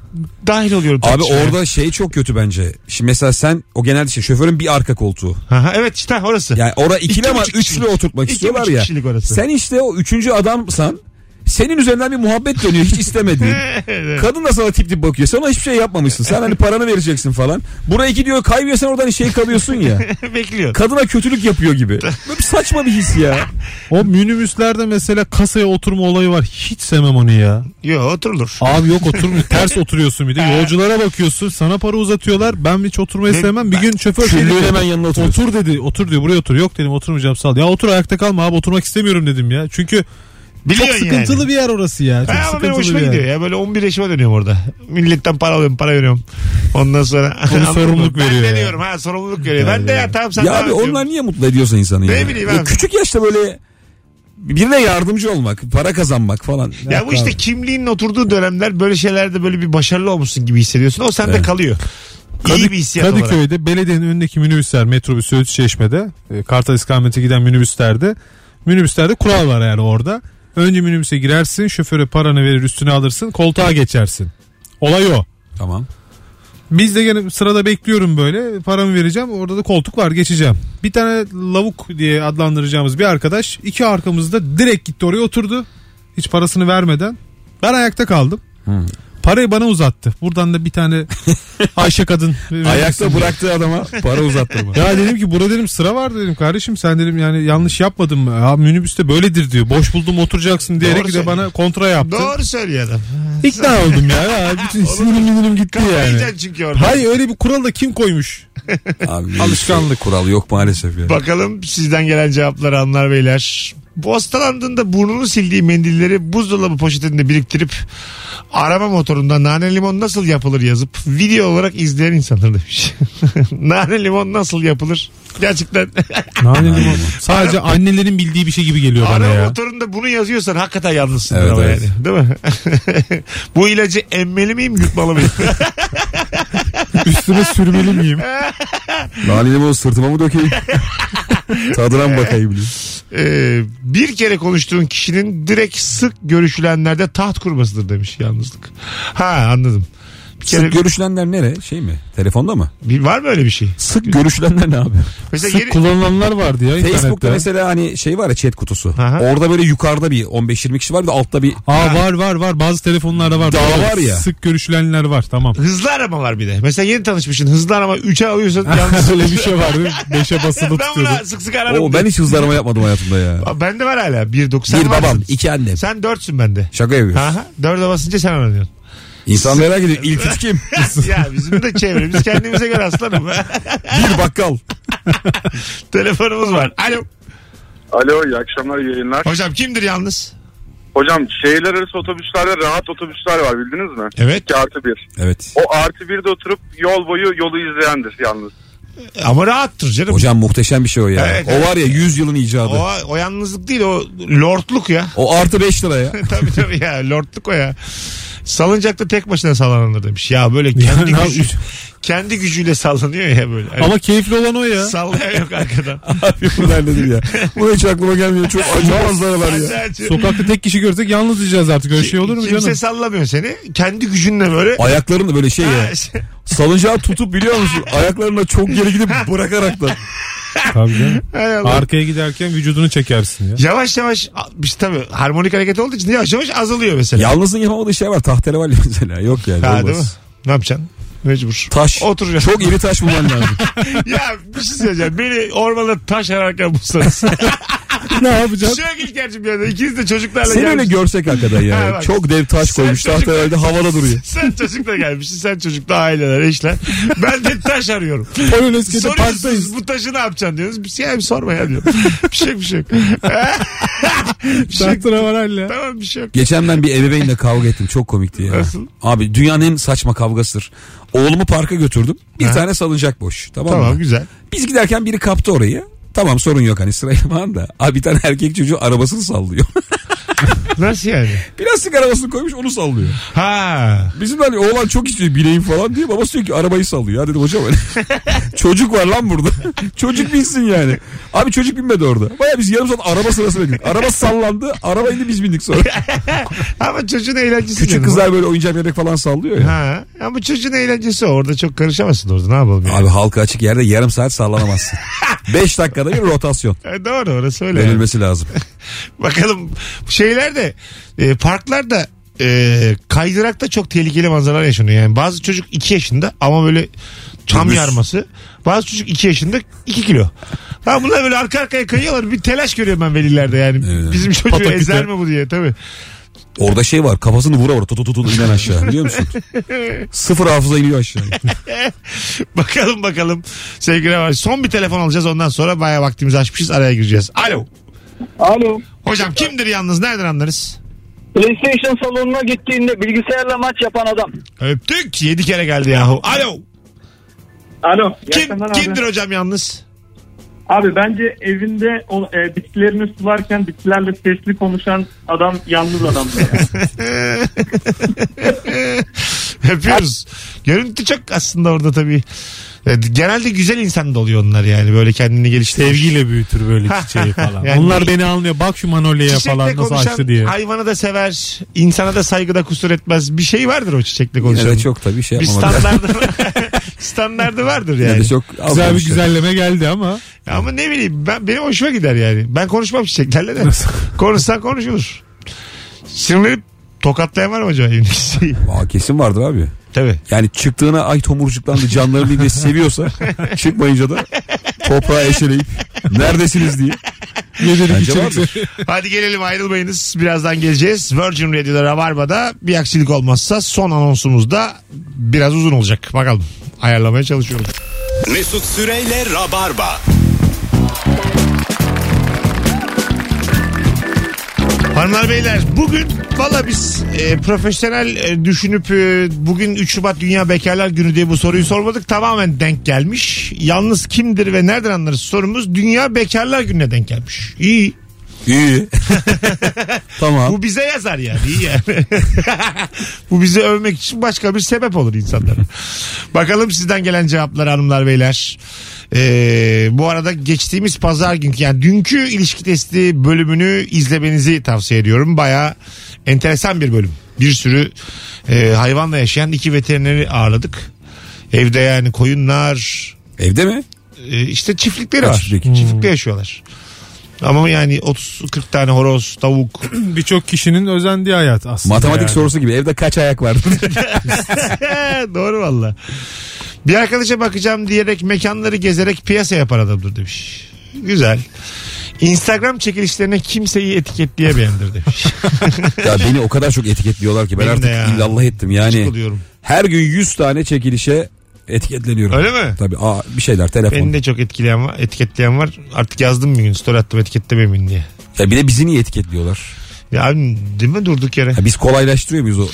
Speaker 2: dahil oluyorum.
Speaker 4: Abi
Speaker 2: tartışmaya.
Speaker 4: orada şey çok kötü bence. Şimdi mesela sen o genelde şey şoförün bir arka koltuğu.
Speaker 2: Aha, evet işte orası.
Speaker 4: Yani orada ikili
Speaker 2: İki
Speaker 4: ama
Speaker 2: buçuk
Speaker 4: üçlü
Speaker 2: kişilik.
Speaker 4: oturtmak
Speaker 2: İki
Speaker 4: istiyorlar
Speaker 2: buçuk
Speaker 4: ya.
Speaker 2: kişilik orası.
Speaker 4: Sen işte o üçüncü adamsan senin üzerinden bir muhabbet dönüyor hiç istemediğin.
Speaker 2: Evet.
Speaker 4: Kadın da sana tip tip bakıyor. Sen ona hiçbir şey yapmamışsın. Sen hani paranı vereceksin falan. Buraya gidiyor kaybıyor sen oradan şey kalıyorsun ya.
Speaker 2: Bekliyor.
Speaker 4: Kadına kötülük yapıyor gibi. Böyle bir saçma bir his ya.
Speaker 3: O minibüslerde mesela kasaya oturma olayı var. Hiç sevmem onu ya.
Speaker 2: Yok oturulur.
Speaker 3: Abi yok oturmuyor. Ters oturuyorsun bir de. Yolculara bakıyorsun. Sana para uzatıyorlar. Ben hiç oturmayı
Speaker 2: Ne-
Speaker 3: sevmem. Bir gün şoför şey
Speaker 4: Küllüğün
Speaker 3: dedi,
Speaker 4: hemen yanına oturuyorsun.
Speaker 3: Otur dedi. Otur diyor. Buraya otur. Yok dedim oturmayacağım sal. Ya otur ayakta kalma abi. Oturmak istemiyorum dedim ya. Çünkü çok
Speaker 2: Biliyorsun
Speaker 3: sıkıntılı
Speaker 2: yani.
Speaker 3: bir yer orası ya. Çok
Speaker 2: Ha, ama benim
Speaker 3: sıkıntılı
Speaker 2: hoşuma
Speaker 3: bir yer.
Speaker 2: gidiyor ya. Böyle 11 yaşıma dönüyorum orada. Milletten para alıyorum, para veriyorum. Ondan sonra...
Speaker 3: Onu sorumluluk
Speaker 2: Ben
Speaker 3: veriyor ya.
Speaker 2: veriyorum ha, sorumluluk veriyor. ben de ya tamam sen
Speaker 4: Ya
Speaker 2: devam
Speaker 4: abi
Speaker 2: ediyorum.
Speaker 4: onlar niye mutlu ediyorsa insanı
Speaker 2: Ne
Speaker 4: ya?
Speaker 2: bileyim
Speaker 4: Ya
Speaker 2: abi.
Speaker 4: Küçük yaşta böyle birine yardımcı olmak, para kazanmak falan.
Speaker 2: Ya bu işte kimliğinin oturduğu dönemler böyle şeylerde böyle bir başarılı olmuşsun gibi hissediyorsun. O sende
Speaker 4: Evet.
Speaker 2: kalıyor. İyi bir hissiyat olarak.
Speaker 3: Kadıköy'de belediyenin önündeki minibüsler metrobüs Söğüt Çeşme'de e, Kartal istikamete giden minibüslerde minibüslerde kural var yani orada. Önce minibüse girersin şoföre paranı verir üstüne alırsın koltuğa geçersin. Olay o.
Speaker 4: Tamam.
Speaker 3: Biz de gene sırada bekliyorum böyle paramı vereceğim orada da koltuk var geçeceğim. Bir tane lavuk diye adlandıracağımız bir arkadaş iki arkamızda direkt gitti oraya oturdu. Hiç parasını vermeden ben ayakta kaldım. Parayı bana uzattı. Buradan da bir tane Ayşe kadın.
Speaker 4: Ayakta bıraktığı adama para uzattırma.
Speaker 3: Ya dedim ki burada dedim sıra var dedim kardeşim sen dedim yani yanlış yapmadın mı? Ya minibüste böyledir diyor. Boş buldum oturacaksın diyerek
Speaker 2: Doğru
Speaker 3: de bana kontra yaptı.
Speaker 2: Doğru söylüyor adam.
Speaker 3: İkna oldum ya. ya. Bütün sinirim minirim gitti yani.
Speaker 2: Yiyeceksin çünkü orada.
Speaker 3: Hayır öyle bir kural da kim koymuş?
Speaker 4: Abi,
Speaker 3: Alışkanlık.
Speaker 4: Kural yok maalesef ya.
Speaker 2: Bakalım sizden gelen cevapları hanımlar beyler. Bu hastalandığında burnunu sildiği mendilleri buzdolabı poşetinde biriktirip arama motorunda nane limon nasıl yapılır yazıp video olarak izleyen insanlar demiş. nane limon nasıl yapılır? Gerçekten
Speaker 3: Nane limon. Sadece annelerin bildiği bir şey gibi geliyor bana
Speaker 2: arama
Speaker 3: ya.
Speaker 2: motorunda bunu yazıyorsan hakikaten yalnızsın
Speaker 4: Evet,
Speaker 2: ama
Speaker 4: evet.
Speaker 2: yani. Değil mi? Bu ilacı emmeli miyim yutmalı mıyım?
Speaker 3: Üstüne sürmeli miyim?
Speaker 4: Nane limonu sırtıma mı dökeyim? Tadına mı bakayım diye.
Speaker 2: Ee, bir kere konuştuğun kişinin direkt sık görüşülenlerde taht kurmasıdır demiş yalnızlık. Ha anladım. Bir kere
Speaker 4: Sık görüşülenler nere? Şey mi? Telefonda mı?
Speaker 2: Bir- var mı öyle bir şey?
Speaker 4: Sık görüşülenler ne abi?
Speaker 2: Mesela
Speaker 3: Sık
Speaker 2: yeni-
Speaker 3: kullanılanlar vardı ya
Speaker 4: Facebook'ta
Speaker 3: internette.
Speaker 4: mesela hani şey var ya chat kutusu.
Speaker 2: Aha.
Speaker 4: Orada böyle yukarıda bir 15-20 kişi var bir de altta bir
Speaker 3: Aa var var var bazı telefonlarda var.
Speaker 4: Daha
Speaker 3: Doğru.
Speaker 4: var ya.
Speaker 3: Sık görüşülenler var tamam.
Speaker 2: hızlı arama var bir de. Mesela yeni tanışmışsın hızlı arama 3'e alıyorsan yalnız.
Speaker 3: Öyle bir şey vardı. Beşe basılı
Speaker 2: ben
Speaker 3: tutuyordu.
Speaker 2: buna sık sık ararım.
Speaker 4: Oo, ben
Speaker 2: ben...
Speaker 4: hiç hızlı arama yapmadım hayatımda ya.
Speaker 2: Bende var hala 1.90
Speaker 4: bir
Speaker 2: varsın.
Speaker 4: babam, iki annem.
Speaker 2: Sen 4'sün bende.
Speaker 4: Şaka yapıyorsun.
Speaker 2: Aha, 4'e basınca sen aranıyorsun.
Speaker 4: İnsan merak ediyor. İlk üç kim?
Speaker 2: ya bizim de çevremiz kendimize göre aslanım.
Speaker 4: bir bakkal.
Speaker 2: Telefonumuz var. Alo.
Speaker 5: Alo iyi akşamlar iyi yayınlar.
Speaker 2: Hocam kimdir yalnız?
Speaker 5: Hocam şehirler arası otobüslerde rahat otobüsler var bildiniz mi?
Speaker 2: Evet.
Speaker 5: 2 artı 1.
Speaker 4: Evet.
Speaker 5: O artı 1'de oturup yol boyu yolu izleyendir yalnız.
Speaker 2: Ama rahattır canım.
Speaker 4: Hocam muhteşem bir şey o ya.
Speaker 2: Evet,
Speaker 4: o var ya 100 yılın icadı.
Speaker 2: O,
Speaker 4: O,
Speaker 2: o yalnızlık değil o lordluk ya.
Speaker 4: artı 5 lira ya.
Speaker 2: tabii tabii ya lordluk o ya. Salıncakta tek başına sallanılır demiş. Ya böyle kendi,
Speaker 3: ne
Speaker 2: gücü, kendi gücüyle sallanıyor ya böyle. Hani
Speaker 3: Ama keyifli olan o ya.
Speaker 2: Sallayan yok arkadan.
Speaker 4: Abi bu nerededir ya? Bu hiç aklıma gelmiyor. Çok acı manzaralar
Speaker 2: Hadi
Speaker 4: ya.
Speaker 2: hadi.
Speaker 3: Sokakta tek kişi görsek yalnız diyeceğiz artık. Öyle şey olur mu
Speaker 2: Kimse
Speaker 3: canım?
Speaker 2: sallamıyor seni. Kendi gücünle böyle.
Speaker 4: Ayaklarını böyle şey ya.
Speaker 2: Ha, şey-
Speaker 4: Salıncağı tutup biliyor musun? Ayaklarına çok geri gidip bırakarak da.
Speaker 3: Tabii canım.
Speaker 2: Hay Allah.
Speaker 3: Arkaya giderken vücudunu çekersin ya.
Speaker 2: Yavaş yavaş biz tabii harmonik hareket olduğu için yavaş yavaş azalıyor mesela.
Speaker 4: Yalnızın yapamadığı şey var. Tahterevalli mesela. Yok yani.
Speaker 2: ha, değil mi?
Speaker 4: olmaz.
Speaker 2: Ne yapacaksın? Mecbur.
Speaker 4: Taş.
Speaker 2: Oturacaksın.
Speaker 4: Çok iri taş bulman lazım.
Speaker 2: ya bir şey söyleyeceğim. Beni ormanda taş ararken bulsanız.
Speaker 3: ne yapacaksın?
Speaker 2: Şöyle ilkerçim yani. İkiniz de çocuklarla
Speaker 4: Seni öyle
Speaker 2: gelmişsiniz.
Speaker 4: görsek hakikaten
Speaker 2: Ha,
Speaker 4: ya.
Speaker 2: bak.
Speaker 4: çok dev taş
Speaker 2: Sen
Speaker 4: koymuş.
Speaker 2: çocuk-
Speaker 4: Tahterevalli havada duruyor.
Speaker 2: Sen çocukla gelmişsin. Sen çocukla aileler, eşler. Ben de taş arıyorum.
Speaker 3: Onun eskide parktayız.
Speaker 2: Soruyorsunuz bu taşı ne yapacaksın diyorsunuz. Bir şey bir sorma ya diyor. Bir şey bir şey yok. bir şey yok.
Speaker 3: Şartıra var hala.
Speaker 2: Tamam bir şey yok.
Speaker 4: Geçen ben bir ebeveynle kavga ettim. Çok komikti ya.
Speaker 2: Nasıl?
Speaker 4: Abi dünyanın en saçma kavgasıdır. Oğlumu parka götürdüm. Bir tane salıncak boş. Tamam,
Speaker 2: Tamam
Speaker 4: mı?
Speaker 2: güzel.
Speaker 4: Biz giderken biri kaptı orayı. Tamam sorun yok hani sırayla falan da. Abi bir tane erkek çocuğu arabasını sallıyor.
Speaker 2: Nasıl yani?
Speaker 4: Plastik arabasını koymuş onu sallıyor.
Speaker 2: Ha.
Speaker 4: Bizim hani oğlan çok istiyor bileyim falan diye. Babası diyor ki arabayı sallıyor. Ya dedim hocam öyle. çocuk var lan burada. çocuk binsin yani. Abi çocuk binmedi orada. Baya biz yarım saat araba sırası bekledik. Araba sallandı. Araba indi biz bindik sonra.
Speaker 2: Ama çocuğun eğlencesi.
Speaker 4: Küçük
Speaker 2: canım.
Speaker 4: kızlar böyle oyuncak bebek falan sallıyor ya.
Speaker 2: Ha. Ama çocuğun eğlencesi o. Orada çok karışamazsın orada. Ne yapalım yani?
Speaker 4: Abi halka açık yerde yarım saat sallanamazsın. 5 dakikada bir rotasyon.
Speaker 2: E, doğru orası öyle. yani.
Speaker 4: Verilmesi lazım.
Speaker 2: Bakalım şeyler de e, parklar da e, kaydırakta çok tehlikeli manzaralar yaşanıyor. Yani bazı çocuk 2 yaşında ama böyle çam
Speaker 4: Dümdüz.
Speaker 2: yarması. Bazı çocuk 2 yaşında 2 kilo. Ha bunlar böyle arka arkaya kayıyorlar. Bir telaş görüyorum ben velilerde yani.
Speaker 4: Evet.
Speaker 2: Bizim çocuğu
Speaker 3: Pataküte.
Speaker 2: ezer mi bu diye tabii.
Speaker 4: Orada şey var kafasını vura vura tutu tutu inen aşağı biliyor musun? Sıfır hafıza iniyor aşağı.
Speaker 2: Bakalım bakalım sevgili var. Son bir telefon alacağız ondan sonra bayağı vaktimizi açmışız araya gireceğiz. Alo.
Speaker 6: Alo.
Speaker 2: Hocam kimdir yalnız nereden anlarız?
Speaker 6: PlayStation salonuna gittiğinde bilgisayarla maç yapan adam.
Speaker 2: Öptük. 7 kere geldi yahu. Alo.
Speaker 7: Alo.
Speaker 2: Kim, kimdir hocam yalnız?
Speaker 7: Abi bence evinde o, e, bitkilerini sularken bitkilerle sesli konuşan adam yalnız adamdır. yani.
Speaker 2: Öpüyoruz. Görüntü çok aslında orada tabii. Evet, Genelde güzel insan da oluyor onlar yani böyle kendini geliştirir.
Speaker 3: Sevgiyle büyütür böyle çiçeği falan.
Speaker 2: Yani-
Speaker 3: Onlar beni anlıyor. Bak şu manolyaya
Speaker 2: Çiçekle
Speaker 3: falan nasıl
Speaker 2: konuşan
Speaker 3: açtı diye.
Speaker 2: hayvanı da sever, insana da saygıda kusur etmez. Bir şey vardır o çiçekle konuşan.
Speaker 4: Yine de çok tabii şey
Speaker 2: bir
Speaker 4: yapmamak lazım.
Speaker 2: standardı, standardı vardır
Speaker 4: Yine de
Speaker 2: yani.
Speaker 4: çok az
Speaker 3: Güzel bir
Speaker 4: konuşuyor.
Speaker 3: güzelleme geldi ama.
Speaker 2: Ama ne bileyim ben, benim hoşuma gider yani. Ben konuşmam çiçeklerle de. Konuşsan konuşulur. Sinirlenip tokatlayan var mı acaba? Şey. evindeki?
Speaker 4: Aa, kesin vardır abi.
Speaker 2: Tabii.
Speaker 4: Yani çıktığına ay tomurcuklandı canlarını yine seviyorsa çıkmayınca da toprağa eşeleyip neredesiniz diye.
Speaker 3: Yedirik
Speaker 4: Bence
Speaker 3: içerik.
Speaker 4: vardır.
Speaker 2: Hadi gelelim ayrılmayınız. Birazdan geleceğiz. Virgin Radio'da Rabarba'da bir aksilik olmazsa son anonsumuz da biraz uzun olacak. Bakalım ayarlamaya çalışıyorum.
Speaker 1: Mesut Süreyle Rabarba.
Speaker 2: Hanımlar beyler bugün valla biz e, profesyonel e, düşünüp e, bugün 3 Şubat Dünya Bekarlar Günü diye bu soruyu sormadık. Tamamen denk gelmiş. Yalnız kimdir ve nereden anlarız sorumuz Dünya Bekarlar Günü'ne denk gelmiş. İyi.
Speaker 4: İyi. tamam.
Speaker 2: Bu bize yazar yani. iyi yani. Bu bizi övmek için başka bir sebep olur insanlara. Bakalım sizden gelen cevaplar hanımlar beyler. Ee, bu arada geçtiğimiz pazar günkü yani dünkü ilişki testi bölümünü izlemenizi tavsiye ediyorum. Baya enteresan bir bölüm. Bir sürü e, hayvanla yaşayan iki veterineri ağırladık. Evde yani koyunlar,
Speaker 4: Evde mi?
Speaker 2: e, işte çiftlikleri
Speaker 4: Ha,
Speaker 2: var.
Speaker 4: çiftlik. Hmm.
Speaker 2: Çiftlikte yaşıyorlar. Ama yani 30-40 tane horoz, tavuk,
Speaker 3: Birçok kişinin özendiği hayat aslında.
Speaker 4: Matematik
Speaker 3: yani.
Speaker 4: sorusu gibi evde kaç ayak var?
Speaker 2: Doğru valla. Bir arkadaşa bakacağım diyerek mekanları gezerek piyasa yapar adamdır demiş. Güzel. Instagram çekilişlerine kimseyi etiketleyemeyendir demiş.
Speaker 4: ya beni o kadar çok etiketliyorlar ki ben
Speaker 2: Benim
Speaker 4: artık
Speaker 2: de ya.
Speaker 4: illallah ettim. Yani
Speaker 2: Oluyorum.
Speaker 4: her gün 100 tane çekilişe etiketleniyorum.
Speaker 2: Öyle mi?
Speaker 4: Tabii aa, bir şeyler telefon.
Speaker 2: Beni de çok etkileyen var, etiketleyen var. Artık yazdım bir gün story attım etiketlemeyin beni diye.
Speaker 4: Ya bir de bizi niye etiketliyorlar?
Speaker 2: Ya abi, değil mi durduk yere?
Speaker 4: Ya biz kolaylaştırıyor muyuz o, o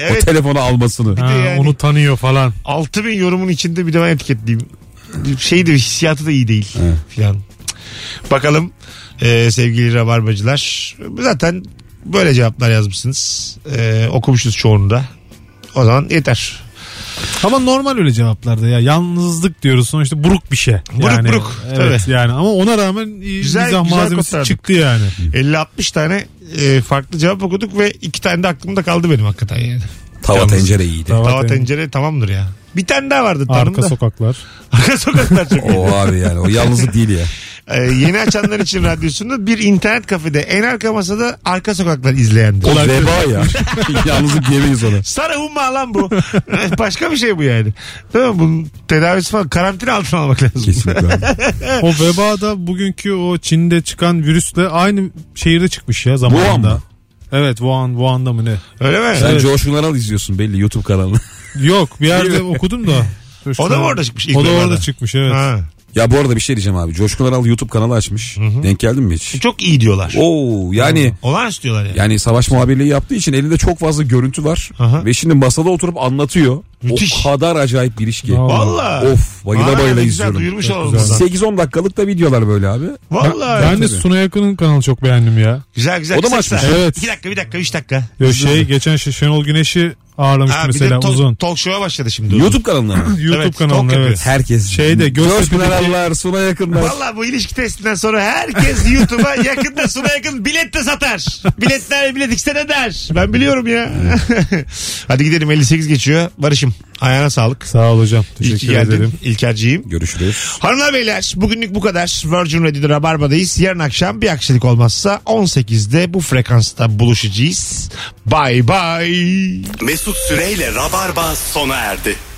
Speaker 2: evet
Speaker 4: telefonu almasını?
Speaker 3: Ha,
Speaker 2: yani.
Speaker 3: Onu tanıyor falan.
Speaker 2: 6000 yorumun içinde bir de ben etiketliyim. Şey de hissiyatı da iyi değil filan. Bakalım e, sevgili rabarbacılar. Zaten böyle cevaplar yazmışsınız. E, okumuşuz çoğunu da. O zaman yeter.
Speaker 3: Ama normal öyle cevaplarda ya. Yalnızlık diyoruz sonuçta buruk bir şey.
Speaker 2: Buruk,
Speaker 3: yani,
Speaker 2: buruk.
Speaker 3: Evet yani ama ona rağmen
Speaker 2: Güzel-
Speaker 3: güzel, mizah
Speaker 2: güzel
Speaker 3: malzemesi
Speaker 2: kurtardık.
Speaker 3: çıktı yani.
Speaker 2: 50-60 tane e, farklı cevap okuduk ve iki tane de aklımda kaldı benim hakikaten yani.
Speaker 4: Tava
Speaker 2: Yalnız.
Speaker 4: tencere iyiydi.
Speaker 3: Tava
Speaker 2: Tava
Speaker 3: tencere.
Speaker 2: tencere tamamdır ya. Bir tane daha vardı
Speaker 3: Arka
Speaker 2: tanımda.
Speaker 3: sokaklar.
Speaker 2: Arka sokaklar çok iyi.
Speaker 4: O abi yani o yalnızlık değil ya.
Speaker 2: E, yeni açanlar için radyosunda bir internet kafede en arka masada arka sokaklar izleyendir.
Speaker 4: O veba ya. yalnızlık diyemeyiz ona.
Speaker 2: Sarı humma lan bu. Başka bir şey bu yani. Değil mi? Bunun tedavisi falan karantina altına almak lazım.
Speaker 4: Kesinlikle abi.
Speaker 3: O veba da bugünkü o Çin'de çıkan virüsle aynı şehirde çıkmış ya zamanında.
Speaker 4: Wuhan mı?
Speaker 3: Evet Wuhan, Wuhan'da mı ne?
Speaker 2: Öyle mi?
Speaker 4: Sen Coşkun Aral izliyorsun belli YouTube kanalını.
Speaker 3: Yok bir yerde okudum da.
Speaker 2: O da mı orada çıkmış ilk
Speaker 3: O da
Speaker 2: vebada?
Speaker 3: orada çıkmış evet.
Speaker 2: Ha.
Speaker 4: ya bu arada bir şey diyeceğim abi. Coşkun Aral YouTube kanalı açmış. Denk geldin mi hiç?
Speaker 2: Çok iyi diyorlar.
Speaker 4: Oo yani
Speaker 2: Olağan istiyorlar yani.
Speaker 4: yani savaş muhabirliği yaptığı için elinde çok fazla görüntü var.
Speaker 2: Aha.
Speaker 4: Ve şimdi masada oturup anlatıyor.
Speaker 2: Müthiş.
Speaker 4: O kadar acayip bir iş ki.
Speaker 3: Vallahi.
Speaker 2: Valla.
Speaker 4: Of bayıla
Speaker 2: Aa,
Speaker 4: bayıla
Speaker 2: ne güzel,
Speaker 4: izliyorum.
Speaker 2: Duyurmuş olalım.
Speaker 3: güzel.
Speaker 2: buradan.
Speaker 4: 8-10 dakikalık da videolar böyle abi.
Speaker 2: Valla.
Speaker 3: ben de
Speaker 4: tabii.
Speaker 3: Suna Yakın'ın kanalı çok beğendim ya.
Speaker 2: Güzel güzel.
Speaker 4: O da mı
Speaker 2: kısa
Speaker 4: açmış?
Speaker 2: kısa.
Speaker 3: Evet.
Speaker 2: İki dakika bir dakika üç dakika.
Speaker 3: Ya şey geçen şey Şenol Güneş'i ağırlamış
Speaker 2: Ha, bir de
Speaker 3: mesela
Speaker 2: to-
Speaker 3: uzun.
Speaker 2: talk show'a başladı şimdi. o.
Speaker 4: YouTube kanalına mı?
Speaker 3: YouTube
Speaker 2: Evet, talk
Speaker 3: kanalında
Speaker 2: yapıyor.
Speaker 3: evet.
Speaker 4: Herkes.
Speaker 3: Şeyde, Göztepe'deki-
Speaker 4: Coşkun Arallar, Suna Yakınlar.
Speaker 2: Valla bu ilişki testinden sonra herkes YouTube'a yakında suna yakın bilet de satar. Biletler bilet ikisi de der. Ben biliyorum ya. Hadi gidelim 58 geçiyor. Barış'ım ayağına sağlık.
Speaker 3: Sağ ol hocam.
Speaker 2: İyi ki
Speaker 3: Teşekkür
Speaker 2: geldin.
Speaker 3: ederim.
Speaker 2: İlkerciğim.
Speaker 4: Görüşürüz.
Speaker 2: Hanımlar beyler bugünlük bu kadar. Virgin Radio'da Rabarba'dayız. Yarın akşam bir aksilik olmazsa 18'de bu frekansta buluşacağız. Bye bye.
Speaker 1: Mesut Süreyle Rabarba sona erdi.